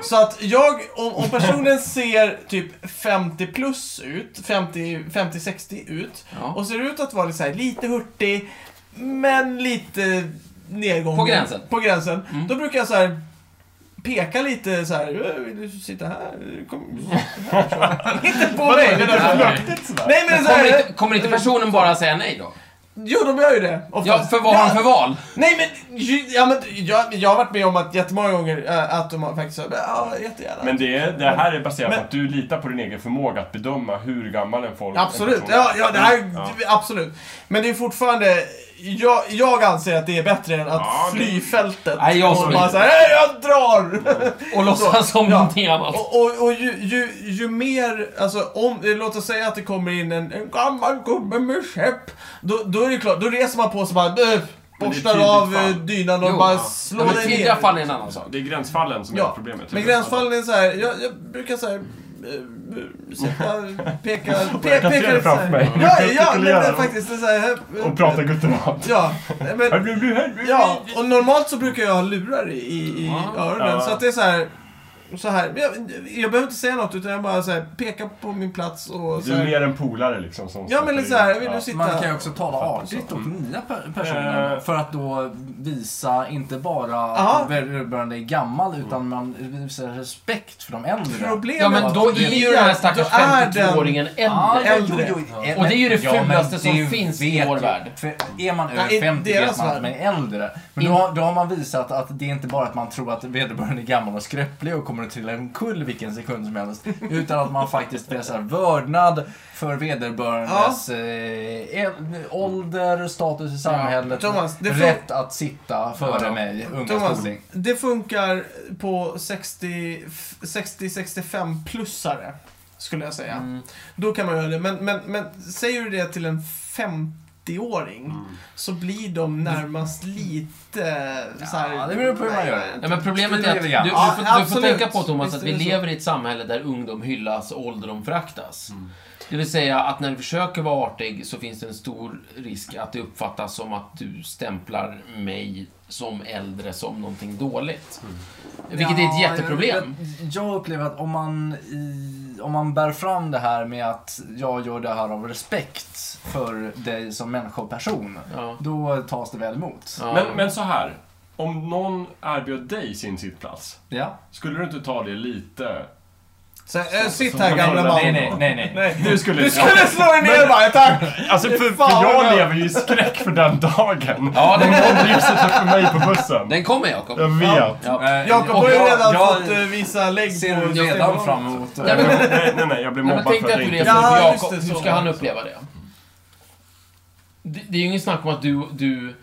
A: Så att jag, om, om personen ser typ 50 plus ut, 50 50-60 ut,
D: Ja.
A: och ser ut att vara lite, så här, lite hurtig, men lite nedgången.
D: På gränsen. Mm.
A: På gränsen. Då brukar jag så här peka lite så här, "Äh, vill du sitta här? Kom. inte på
C: Vadå,
A: mig,
C: är det
A: men
C: där
A: alltså.
C: flörtigt sådär?
A: Nej men så
D: Kommer
A: här,
D: inte, kommer inte personen bara säga nej då?
A: Jo, de gör ju det.
D: Ja,
A: oftast.
D: för vad har han för val?
A: Nej men, ju- ja, men jag, jag har varit med om att jättemånga gånger äh, att de har faktiskt sagt ja, jättegärna.
C: Men det, är, det här är baserat
A: Men-
C: på att du litar på din egen förmåga att bedöma hur gammal en folk en
A: absolut,
C: person är.
A: ja, ja det här,
C: Ja.
A: absolut. Men det är fortfarande, jag, jag anser att det är bättre än att
C: Ja, det-
A: fly fältet.
D: Nej, jag
A: och
D: som
A: bara
D: inte-
A: såhär, "Hej, jag drar!
D: Och låtsas som
A: Ja.
D: någonting annat.
A: och och, och ju, ju, ju mer, alltså om, eh, låt oss säga att det kommer in en, en gammal gubbe med käpp. Då, då är det klart, då reser man på sig bara, "Böh",
C: Men det är
A: borstar
C: tydligt
A: av
C: fall.
A: eh, dynan och
D: Jo,
A: bara
D: ja.
A: slår
D: Ja, men
A: dig
D: tidiga
A: ner.
D: fall är en annan sak.
C: Det är gränsfallen som är
A: Ja,
C: problemet.
A: men gränsfallen är så här. Jag, jag brukar så här, eh, sätta, peka, pe,
C: Jag kan
A: peka
C: se det
A: så här.
C: framför mig.
A: Ja, ja, men det
C: Artikulera
A: är
C: dem.
A: faktiskt det är så här. eh,
C: Och prata gutteralt.
A: Ja, men,
C: Ja,
A: ja, och normalt så brukar jag ha lurar i, i, i öronen.
C: Ja.
A: Så att det är så här. så här. Jag, jag behöver inte säga något, utan jag bara så här, pekar på min plats och så
C: Du är
A: här,
C: mer en polare liksom som
A: Ja, men
C: stöter
A: lite så här,
C: in.
A: vill du sitta...
B: Man kan ju också tala
C: Fattar
B: artigt
C: så.
B: åt nya per- personer
C: Eh.
B: för att då visa inte bara
A: Aha.
B: att vederbörande är gammal utan man visar respekt för de äldre.
A: Problemet
D: Ja, men då är ju den här stackars
A: då är den-
D: 52-åringen
B: Ah,
D: äldre.
B: jo,
A: äldre.
B: jo, jo.
D: Och det är ju det
B: Ja, men
D: fulaste som
B: det
D: finns i
B: vet
D: vår
B: ju-
D: värld.
B: För är man
A: Ja, i
B: över 50
A: deras
B: vet man
A: värld.
B: att man är äldre. Men då,
D: In-
B: har- då har man visat att det är inte bara att man tror att vederbörande är gammal och skröplig och kommer att trilla omkull vilken sekund som helst. Utan att man faktiskt visar vördnad för vederbörandes eh, äl- ålder, status i samhället,
A: Thomas, det får-
B: rätt att sitta före
D: Ja.
B: mig, unga
A: Thomas,
B: skoling.
A: det funkar på 60-65-plussare, skulle jag säga.
B: Mm.
A: Då kan man göra det. Men, men, men säger du det till en 50-åring
B: Mm.
A: så blir de närmast lite så här,
B: Ja, det beror på hur man gör det.
D: Ja, men problemet
B: Skulle
D: är
B: jag
D: att du,
B: vilja.
D: du,
A: Ja,
D: får, du får
A: absolut.
D: tänka på Thomas
A: Visst
D: att
A: är
D: vi
A: det så.
D: lever i ett samhälle där ungdom hyllas och ålderdom föraktas.
A: Mm.
D: Det vill säga att när du försöker vara artig så finns det en stor risk att det uppfattas som att du stämplar mig som äldre som någonting dåligt.
A: Mm.
D: Vilket är ett
B: Ja,
D: jätteproblem.
B: Jag, jag upplever att om man, i, om man bär fram det här med att jag gör det här av respekt för dig som människa och person,
D: Ja.
B: då tas det väl emot.
D: Ja.
C: Men, men så här. Om någon erbjöd dig sin sittplats,
B: Ja.
C: skulle du inte ta det lite...
A: Så här,
D: eh,
A: äh, sitt
C: så-
A: här
C: så-
A: gamla man.
B: Nej, nej, nej, nej.
A: Nej.
C: Du skulle
A: Du skulle slå dig ner bara, tack!
C: Alltså för, för
A: Fan, vad bra.
C: jag lever ju i skräck för den dagen.
D: Ja,
C: Om
D: den,
C: någon lyser sig för mig på bussen.
D: den kommer Jakob.
C: Jag
A: Ja.
C: vet.
D: Ja.
B: Eh,
A: Jakob
B: och
A: har ju redan
B: jag,
A: fått eh, visa lägg på...
B: ser redan fram emot eh,
D: Nej, men-
C: Nej, nej, nej, jag blev
D: Nej, men
C: mobbad
D: tänk
C: för
D: dig
C: att
D: att
C: jag inte...
D: du reser med
A: Ja, just
D: Jakob.
A: det,
D: Hur
A: så.
D: ska han uppleva det? Det, det är ju ingen snack om att du, du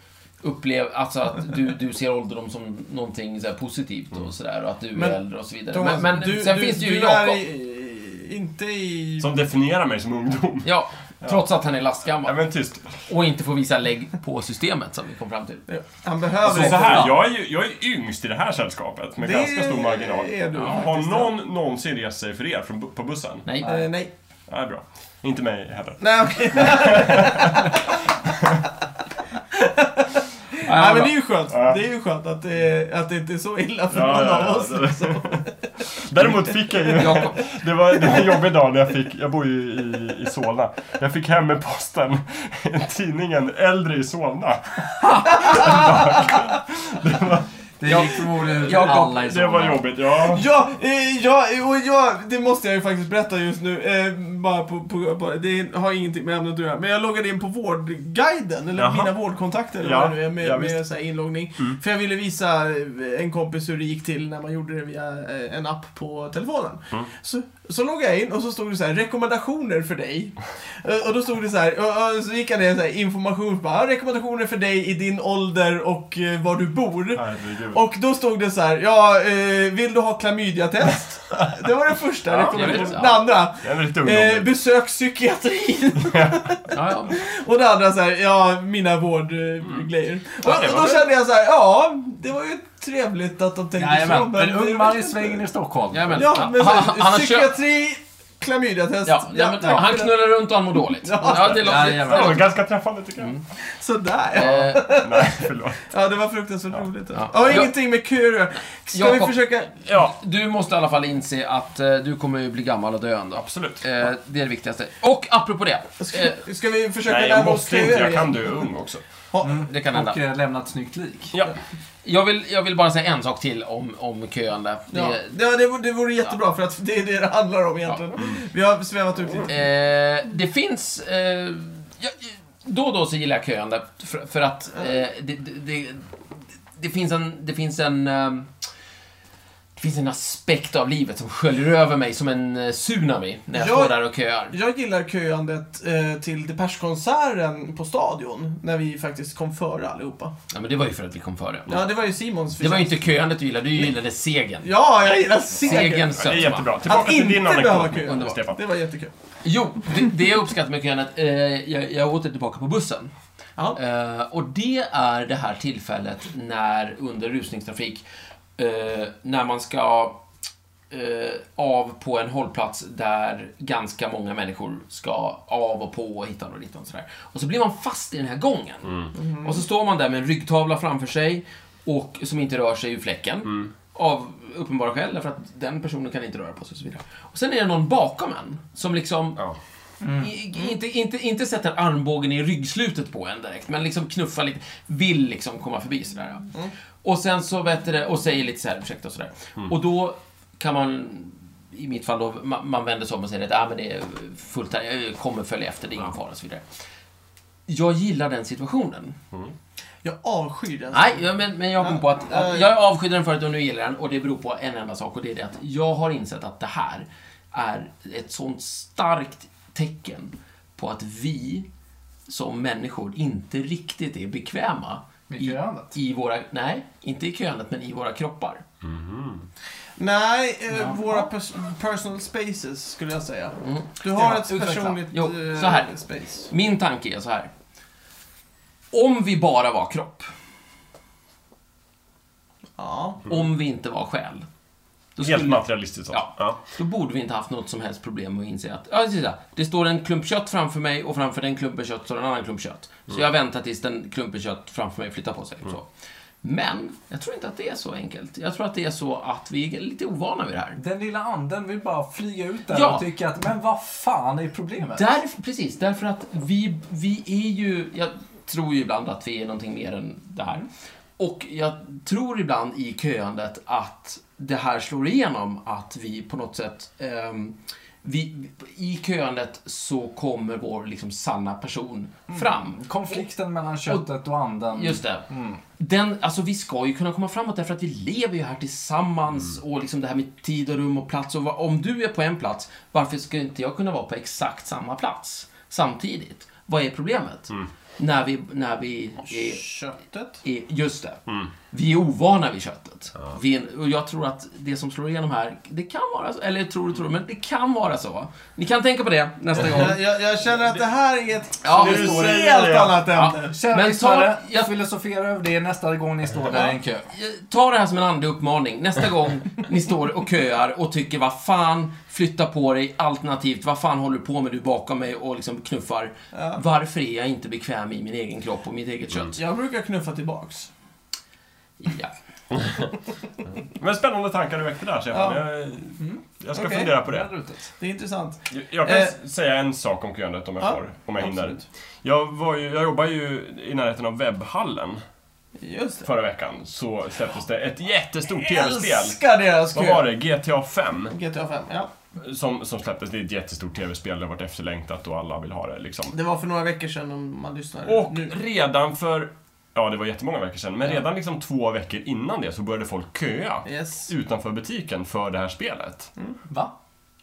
D: upplever, alltså att du, du ser ålderdom som någonting så här positivt och sådär och att du
A: Mm. Men,
D: är äldre och så vidare.
A: Thomas,
D: men men
A: du,
D: sen
A: du,
D: finns det
A: du
D: ju
A: är
D: Jakob.
A: i- Inte i...
C: Som definierar mig som ungdom. Alltså,
D: Ja, trots att han är
C: Nej
D: lastgammal.
C: men tyst.
D: Och inte får visa lägg på systemet som vi kom fram till.
A: Han behöver
C: Så,
A: inte-
C: så här, jag är ju jag är yngst i det här sällskapet med
A: Alltså, Det
C: ganska stor marginal.
A: är du
C: Har
A: faktiskt,
C: någon någonsin rest sig för er från, bu- på bussen?
D: Nej.
A: Eh, nej.
C: Nej, bra. Inte mig heller.
A: Nej, okej. Nej, men det är ju skönt.
C: Ja.
A: Det är ju skönt att det, att det inte är så illa för
C: Ja,
A: någon
C: ja,
A: av
C: ja.
A: oss.
C: Däremot fick jag ju...
D: Jakob.
C: Det var, det var en jobbig dag när jag fick, jag bor ju i, i Solna, jag fick hem med posten tidningen Äldre i Solna.
B: Det gick förmodligen ut
D: Jakob,
B: alla i
C: Det var
B: sommar.
C: jobbigt, ja.
A: Ja, eh, ja, och ja, det måste jag ju faktiskt berätta just nu. Eh, bara på, på, på, det har ingenting med ämnet att göra. Men jag loggade in på Vårdguiden, eller
C: Jaha.
A: mina vårdkontakter eller
C: Ja,
A: vad det nu är, med,
C: ja,
A: med
C: visst. Mm.
A: så här inloggning. För jag ville visa eh, en kompis hur det gick till när man gjorde det via eh, en app på telefonen.
C: Mm.
A: Så, så loggade jag in och så stod det så här, rekommendationer för dig. Eh, och då stod det så här, och, och så gick jag ner så här, information, bara, "Ja, rekommendationer för dig i din ålder och eh, var du bor.
C: Herregud.
A: Och då stod det så här, ja, eh, vill du ha klamydiatest? Det var den första
C: Ja,
A: rekommendationen.
D: jag vet,
A: Den
D: ja.
A: andra,
C: Det är lite
A: eh,
C: ungdomligt.
A: besök psykiatrin.
D: Ja, ja.
A: Och den andra så här, ja, mina vårdgrejer. Och
C: det var
A: då
C: väl-
A: kände jag så här, ja, det var ju trevligt att de tänkte så.
B: Jajamän, en ung man
A: jag
B: i
A: vet
B: svängen
A: inte.
B: i Stockholm.
D: Jajamän.
A: Ja, men så här,
D: Han- han har köpt-
A: psykiatri, klamydiatest.
D: Ja, nej, men,
A: tack
D: han
A: för det.
D: knullar runt och han mår dåligt.
A: Ja.
D: Ja, det låter...
B: Jajamän.
C: Det var
D: förlåt.
C: ganska träffande tycker jag.
A: Mm. Sådär.
D: Eh,
C: Nej, förlåt.
A: Ja, det var fruktansvärt roligt. Ja.
D: Ja.
A: Ja,
D: Ja.
A: ingenting med köer Ska vi
D: Jakob-
A: försöka...
C: Ja,
D: Du måste i alla fall inse att eh, du kommer ju bli gammal och dö en dag.
C: absolut.
D: Eh, det är det viktigaste. Och apropå det. Eh,
A: Ska, ska vi försöka
C: Nej, jag
A: lära oss
C: måste inte.
A: köer
C: Jag
A: igen?
C: kan dö ung också.
A: Ja,
D: det kan hända.
B: Och eh, lämna ett snyggt lik.
C: Ja.
D: Jag vill, jag vill bara säga en sak till om, om köande. Det,
A: Ja, det, det, vore, det vore jättebra för att det är det det handlar om egentligen.
D: Mm.
A: Vi har svävat ut lite.
D: eh, det finns... Eh, jag, då och då så gillar jag köande för, för att eh, det, det, det, det finns en... Det finns en eh, det finns en aspekt av livet som sköljer över mig som en eh, tsunami när jag
A: Jag-
D: står där och köar.
A: Jag gillar köandet eh, till Depeche-konserten på Stadion, när vi faktiskt kom före allihopa.
D: Ja, men det var ju för att vi kom före.
A: Ja, det var ju Simons
D: Det var ju
A: förtjänst.
D: inte köandet du gillade, du gillade segern.
A: Ja, jag gillar segern.
D: Segern
C: Det är
D: sötma.
C: jättebra. Tillbaka till
A: inte
C: din
A: behöva
C: anekdot,
A: köa.
D: Underbart.
C: Stefan.
A: Det var jättekul.
D: Jo, det, det jag uppskattar med köandet, eh, jag, jag åter tillbaka på bussen.
A: Ja.
D: Eh, och det är det här tillfället när under rusningstrafik, eh, när man ska eh, av på en hållplats där ganska många människor ska av och på och hitan och ditan och sådär. Och så blir man fast i den här gången. Och så står man där med en ryggtavla framför sig och som inte rör sig ur fläcken. Av uppenbara skäl, därför att den personen kan inte röra på sig och så vidare. Och sen är det någon bakom en som liksom
C: Ja.
D: i- i- Inte, inte, inte sätter armbågen i ryggslutet på en direkt, men liksom knuffar lite. Vill liksom komma förbi sådär. ja. Och sen så vet du det, och säger lite såhär, ursäkta och sådär. Och då kan man, i mitt fall då, man, man vänder sig om och säger att ah, men det är fullt här, jag kommer följa efter, det är ingen fara och så vidare. Jag gillar den situationen.
A: Jag avskyr den.
D: Nej, ja, men, men jag kom på att, att jag avskydde den förut och nu gillar jag den och det beror på en enda sak och det är det att jag har insett att det här är ett sånt starkt tecken på att vi som människor inte riktigt är bekväma
B: Med
D: i,
B: köandet?
D: i våra, nej, inte i köandet men i våra kroppar.
A: Nej, eh, våra pers personal spaces skulle jag säga. Du har
B: Ja,
A: ett
B: utveckla.
A: personligt
D: Mm. Jo,
A: eh,
D: så här.
A: space.
D: Min tanke är så här. Om vi bara var kropp,
A: Ja.
D: om vi inte var själ. Då
C: Helt
D: skulle-
C: materialistiskt alltså.
D: Ja.
C: Ja.
D: Då borde vi inte haft något som helst problem med att inse att ja, titta, det står en klump kött framför mig och framför den klumpen kött står en annan klump kött. Så jag väntar tills den klumpen kött framför mig flyttar på sig. Så. Men jag tror inte att det är så enkelt. Jag tror att det är så att vi är lite ovana vid det här.
B: Den lilla anden vill bara flyga ut där
D: Ja.
B: och tycka att men vad fan är problemet?
D: Därför, precis, därför att vi, vi är ju... Jag tror ju ibland att vi är någonting mer än det här. Och jag tror ibland i köandet att det här slår igenom att vi på något sätt... ehm, vi, I köandet så kommer vår liksom sanna person fram.
B: Konflikten mellan köttet och anden.
D: Just det. Den, alltså vi ska ju kunna komma framåt därför att vi lever ju här tillsammans och liksom det här med tid och rum och plats. Och vad, om du är på en plats, varför ska inte jag kunna vara på exakt samma plats samtidigt? Vad är problemet? När vi, när vi är
A: Köttet.
D: är, just det. Vi är ovana vid köttet. Vi är, och jag tror att det som slår igenom här, det kan vara så, eller tror och tror, men det kan vara så. Ni kan tänka på det nästa gång.
A: Jag, jag, jag känner att det här är ett
D: Ja,
A: det är
D: nu
A: ett
C: står det i
A: helt
C: det, ja.
A: annat ämne.
B: Kära
D: Men
B: lyssnare,
D: ta- jag-
B: filosofera över det nästa gång ni står där i en kö.
D: Eh, Ta det här som en andlig uppmaning. Nästa gång ni står och köar och tycker vad fan, flytta på dig, alternativt vad fan håller du på med du bakom mig och liksom knuffar. Varför är jag inte bekväm i min egen kropp och mitt eget kött?
A: Jag brukar knuffa tillbaks.
D: Ja.
C: Men spännande tankar du väckte där Stefan.
A: Ja. Mm.
C: Jag, jag ska
A: Okej.
C: fundera på
B: På det
C: det.
B: rutet.
A: Det är intressant.
C: Jag- Jag kan
A: Eh.
C: s- säga en sak om köandet om jag
A: Ja,
C: får, om jag hinner.
A: absolut.
C: Jag, var ju, jag jobbar ju i närheten av webbhallen
A: Just det.
C: förra veckan. Så släpptes det ett jättestort
A: Jag
C: tv-spel.
A: älskar deras kö.
C: Vad var det? GTA 5?
A: GTA 5, ja.
C: Som, som släpptes. Det är ett jättestort tv-spel. Det har varit efterlängtat och alla vill ha det liksom.
A: Det var för några veckor sedan om man lyssnar
C: Och
A: nu.
C: redan för, ja det var jättemånga veckor sedan, men redan liksom två veckor innan det så började folk köa
A: Yes. Mm.
C: utanför butiken för det här spelet.
B: Va?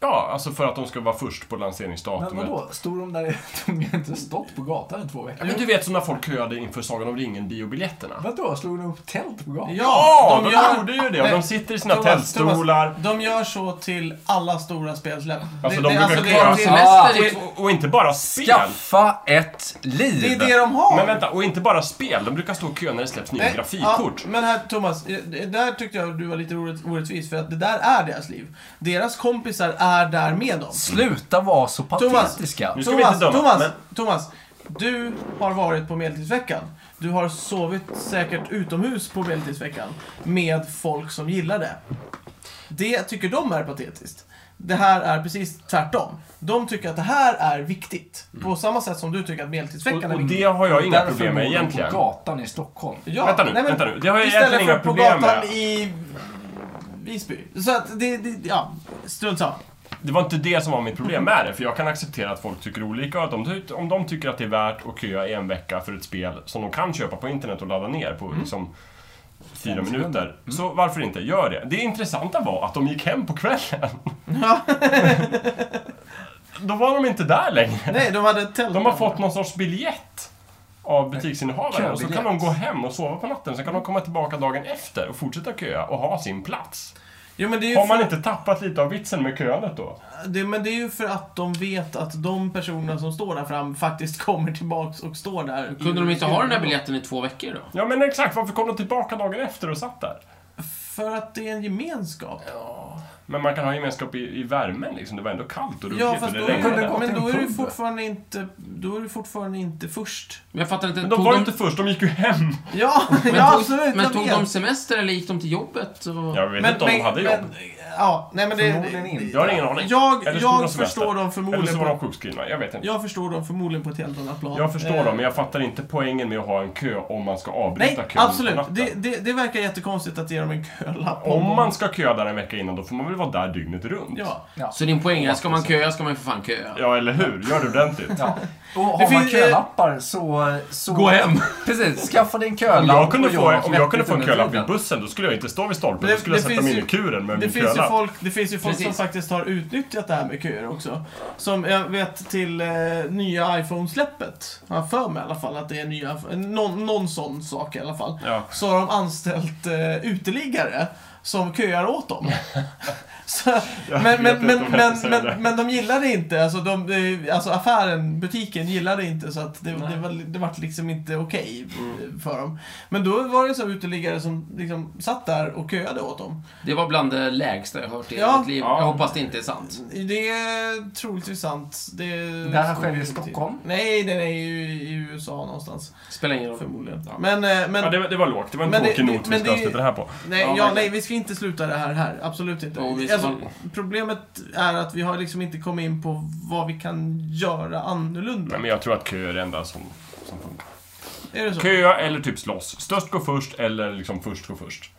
C: Ja, alltså för att de ska vara först på
B: Men
C: lanseringsdatumet.
B: vadå? Stod de där de har inte stått på gatan i två
C: Ja,
B: veckor?
C: men du vet som när folk köade inför Sagan om ringen-biobiljetterna.
B: Vadå? Slog de upp tält på gatan?
C: Ja,
A: de
C: de,
A: gör-
C: gjorde ju det. Och de
A: Nej,
C: sitter i sina
A: Thomas,
C: tältstolar.
A: Thomas, De gör så till alla stora spelsläpp.
C: Alltså, de brukar
A: det,
C: köra
A: är till-
C: sig.
D: Semester är två-
C: Och, och inte bara spel.
B: Skaffa ett liv!
A: det är det de har.
C: Men vänta, och inte bara spel. De brukar stå och köa när det släpps nya
A: Nej,
C: grafikkort.
A: Ja, men här Thomas, eh, det där tyckte jag du var lite orätt- orättvis för att det där är deras liv. Deras kompisar är där med dem.
B: Sluta vara så
A: Thomas.
B: patetiska.
C: Nu ska vi
A: Thomas,
C: inte döma,
A: Thomas,
C: men-
A: Thomas, du har varit på Medeltidsveckan. Du har sovit säkert utomhus på Medeltidsveckan med folk som gillar det. Det tycker de är patetiskt. Det här är precis tvärtom. De tycker att det här är viktigt. På samma sätt som du tycker att Medeltidsveckan
C: Mm. Och,
A: är
C: och
A: viktig.
C: det har jag inga
B: Därför
C: problem med
B: bor de
C: egentligen.
B: på gatan i Stockholm.
A: Ja,
C: vänta nu,
A: nej, men
C: vänta nu. Det har jag
A: istället
C: egentligen
A: för
C: inga
A: på
C: problem
A: gatan
C: med.
A: i Visby. Så att det, det ja, strunt samma.
C: Det var inte det som var mitt problem med det, för jag kan acceptera att folk tycker olika och att de, ty- om de tycker att det är värt att köa i en vecka för ett spel som de kan köpa på internet och ladda ner på liksom fyra
B: Fem
C: minuter, så varför inte? Gör det. Det intressanta var att de gick hem på kvällen. Då var de inte där längre.
A: Nej, de hade ett tält.
C: De har fått någon sorts biljett av butiksinnehavaren och så kan de
B: Köbiljett.
C: gå hem och sova på natten, sen kan de komma tillbaka dagen efter och fortsätta köa och ha sin plats.
A: Jo, men det är ju
C: Har man
A: för-
C: inte tappat lite av vitsen med köandet då?
A: Det, men det är ju för att de vet att de personerna som står där fram faktiskt kommer tillbaks och står där.
D: Kunde de inte ha den där biljetten i två veckor då?
C: Ja men exakt, varför kom de tillbaka dagen efter och satt där?
A: För att det är en gemenskap.
C: Men man kan ha gemenskap i, i värmen liksom. Det var ändå kallt och ruggigt.
A: Ja, fast
C: och
A: då,
C: det
A: är-
C: regnade.
B: gå
A: men
B: till en
A: då är du
B: pub.
A: fortfarande inte, då är du fortfarande inte först.
D: Men jag fattar inte.
C: Men de
D: tog
C: var ju inte först, de gick ju hem.
A: Ja,
D: men
A: ja
D: tog,
A: absolut.
D: Men
A: jag
D: tog
A: vet.
D: de semester eller gick de till jobbet? Och...
C: Jag vet inte om de hade jobb.
A: Men, ja, nej men det...
B: Förmodligen inte.
C: jag har ingen aning.
A: Jag,
C: Eller så tog de
A: jag
C: semester.
A: förstår dem
C: Eller så
A: förmodligen
C: var de
A: på,
C: sjukskrivna, jag vet inte.
A: jag förstår dem förmodligen på ett helt annat plan.
C: Jag förstår
A: Eh,
C: dem, men jag fattar inte poängen med att ha en kö om man ska
A: Nej,
C: avbryta kön på
A: absolut.
C: natten.
A: Det, det, det verkar jättekonstigt att ge dem en kölapp.
C: Om man ska köa där en vecka innan, då får man väl vara där dygnet runt?
A: Ja.
D: Så din poäng är, ska man köa ska man ju för fan köa.
C: Ja, eller hur? Gör det ordentligt.
B: Ja. Och
A: Det
B: har man
A: finns-
B: kölappar så, så...
D: Gå hem.
B: Precis, skaffa dig en
C: Om
B: kölapp
C: jag kunde
B: och
C: få,
B: gör något
C: om jag kunde
B: vettigt
C: få en
B: under
C: kölapp i
B: tiden.
C: bussen, då skulle jag inte stå vid stolpen.
A: Det-
C: Då skulle jag
A: det
C: sätta mig
A: finns
C: in i kuren med
A: Det
C: min
A: finns, ju
C: kölapp.
A: folk, det finns ju folk som
D: Precis.
A: faktiskt har utnyttjat det här med köer också. Som jag vet till eh, nya iPhone-släppet, har jag för mig i alla fall att det är nya, någon, någon sån sak i alla fall.
C: Ja.
A: Så har de anställt eh, uteliggare som köar åt dem. Så,
C: Jag vet
A: men, men, men,
C: inte om jag
A: men,
C: ska säga det.
A: men, men de gillade inte, alltså, de, eh, alltså affären, butiken gillade inte så att det, det, var, det var liksom inte okej eh, för dem. Men då var det så här uteliggare som liksom satt där och köade åt dem.
D: Det var bland det lägsta jag hört i hela
A: Ja.
D: mitt liv.
C: Ja.
D: Jag hoppas det inte är sant.
A: Det är troligtvis sant. Det,
B: Det här sker i Stockholm.
A: Nej, den är ju i USA någonstans.
D: Spelar ingen roll.
A: Förmodligen. Men, eh, men,
C: Ja, det, var- det var lågt. Det var en
A: Men det-
C: tråkig
A: det-
C: not vi
A: men
C: ska
A: det-
C: avsluta det här på.
A: nej,
D: Ja,
A: ja,
D: verkligen.
A: nej, vi ska inte sluta det här här. Absolut inte.
D: Jo, vi ska-
A: alltså, problemet är att vi har liksom inte kommit in på vad vi kan göra annorlunda.
C: Nej, men jag tror att kö är det enda som, som funkar.
A: Är det så? Okej.
C: Köa eller typ slåss. Störst går först eller liksom först går först.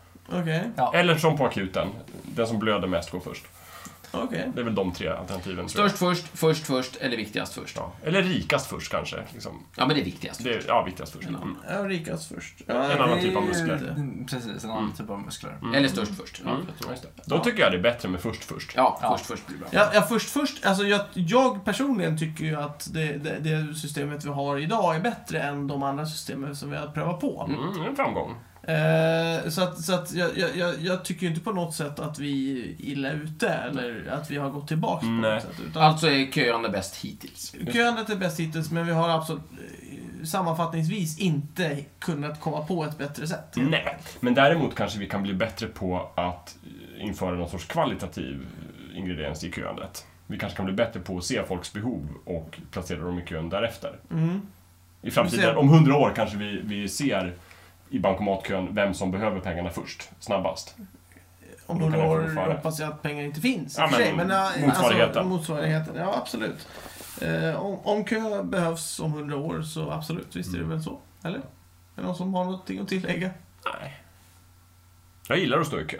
C: Eller som på akuten. Den som blöder mest går först.
A: Okej.
C: Det är väl de tre alternativen. tror jag.
D: Störst först, först först eller viktigast först.
C: Ja. Eller rikast först kanske. Liksom.
D: Ja, men det är viktigast.
C: Det är, ja, viktigast först. Mm.
A: Ja, rikast först.
C: En annan typ av muskler.
B: Mm, Precis, en annan typ av muskler.
D: Eller störst först. Ja,
C: Mm.
D: jag tror.
C: Då tycker jag det är bättre med först först.
D: ja,
B: Ja.
D: först först blir bra.
A: Ja, ja, först först. Alltså jag, jag personligen tycker ju att det, det, det systemet vi har idag är bättre än de andra systemen som vi har prövat på.
C: Mm, det är en framgång.
A: Eh, så att, så att jag, jag, jag, jag tycker ju inte på något sätt att vi är illa ute eller att vi har gått tillbaka på
C: Nej.
A: något sätt. Utan
D: Alltså är köande bäst hittills.
A: Köandet är bäst hittills, men vi har absolut eh, sammanfattningsvis inte kunnat komma på ett bättre sätt.
D: Mm.
C: Nej, men däremot kanske vi kan bli bättre på att eh, införa någon sorts kvalitativ ingrediens i köandet. Vi kanske kan bli bättre på att se folks behov och placera dem i kön därefter.
A: Mm.
C: I framtiden,
A: ser.
C: om hundra år kanske vi, vi ser i bankomatkön vem som behöver pengarna först, snabbast.
A: Om
C: Då kan
A: några
C: jag få gå
A: år
C: före.
A: hoppas jag att pengar inte finns. i
C: Ja,
A: och för
C: men
A: sig, eh, Alltså,
C: motsvarigheten.
A: motsvarigheten. Ja, absolut. Eh, om, om kö behövs om hundra år så absolut, visst är
C: Mm.
A: det väl så? Eller? Är det någon som har någonting att tillägga?
C: Nej. Jag gillar att stå i kö.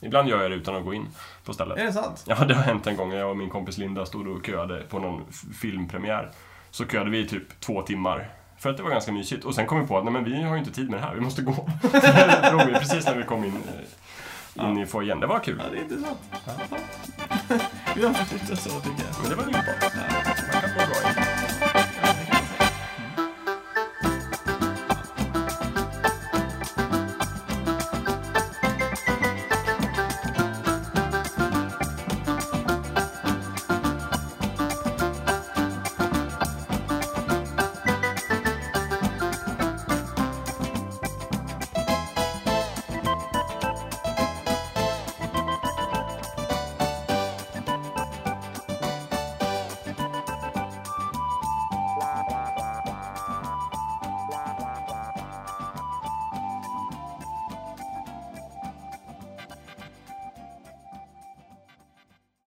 C: Ibland gör jag det utan att gå in på stället.
A: Är det sant?
C: Ja, det har hänt en gång när jag och min kompis Linda stod och köade på någon f- filmpremiär. Så köade vi i typ två timmar. För att det var ganska mysigt. Och sen kom vi på att nej, men vi har ju inte tid med det här, vi måste gå. Så det drog vi precis när vi kom in, eh, in i foajén. Det var kul.
A: Ja, det är intressant. Vi har fått ut det så, tycker jag.
C: Men det var ju bra.
A: Ja.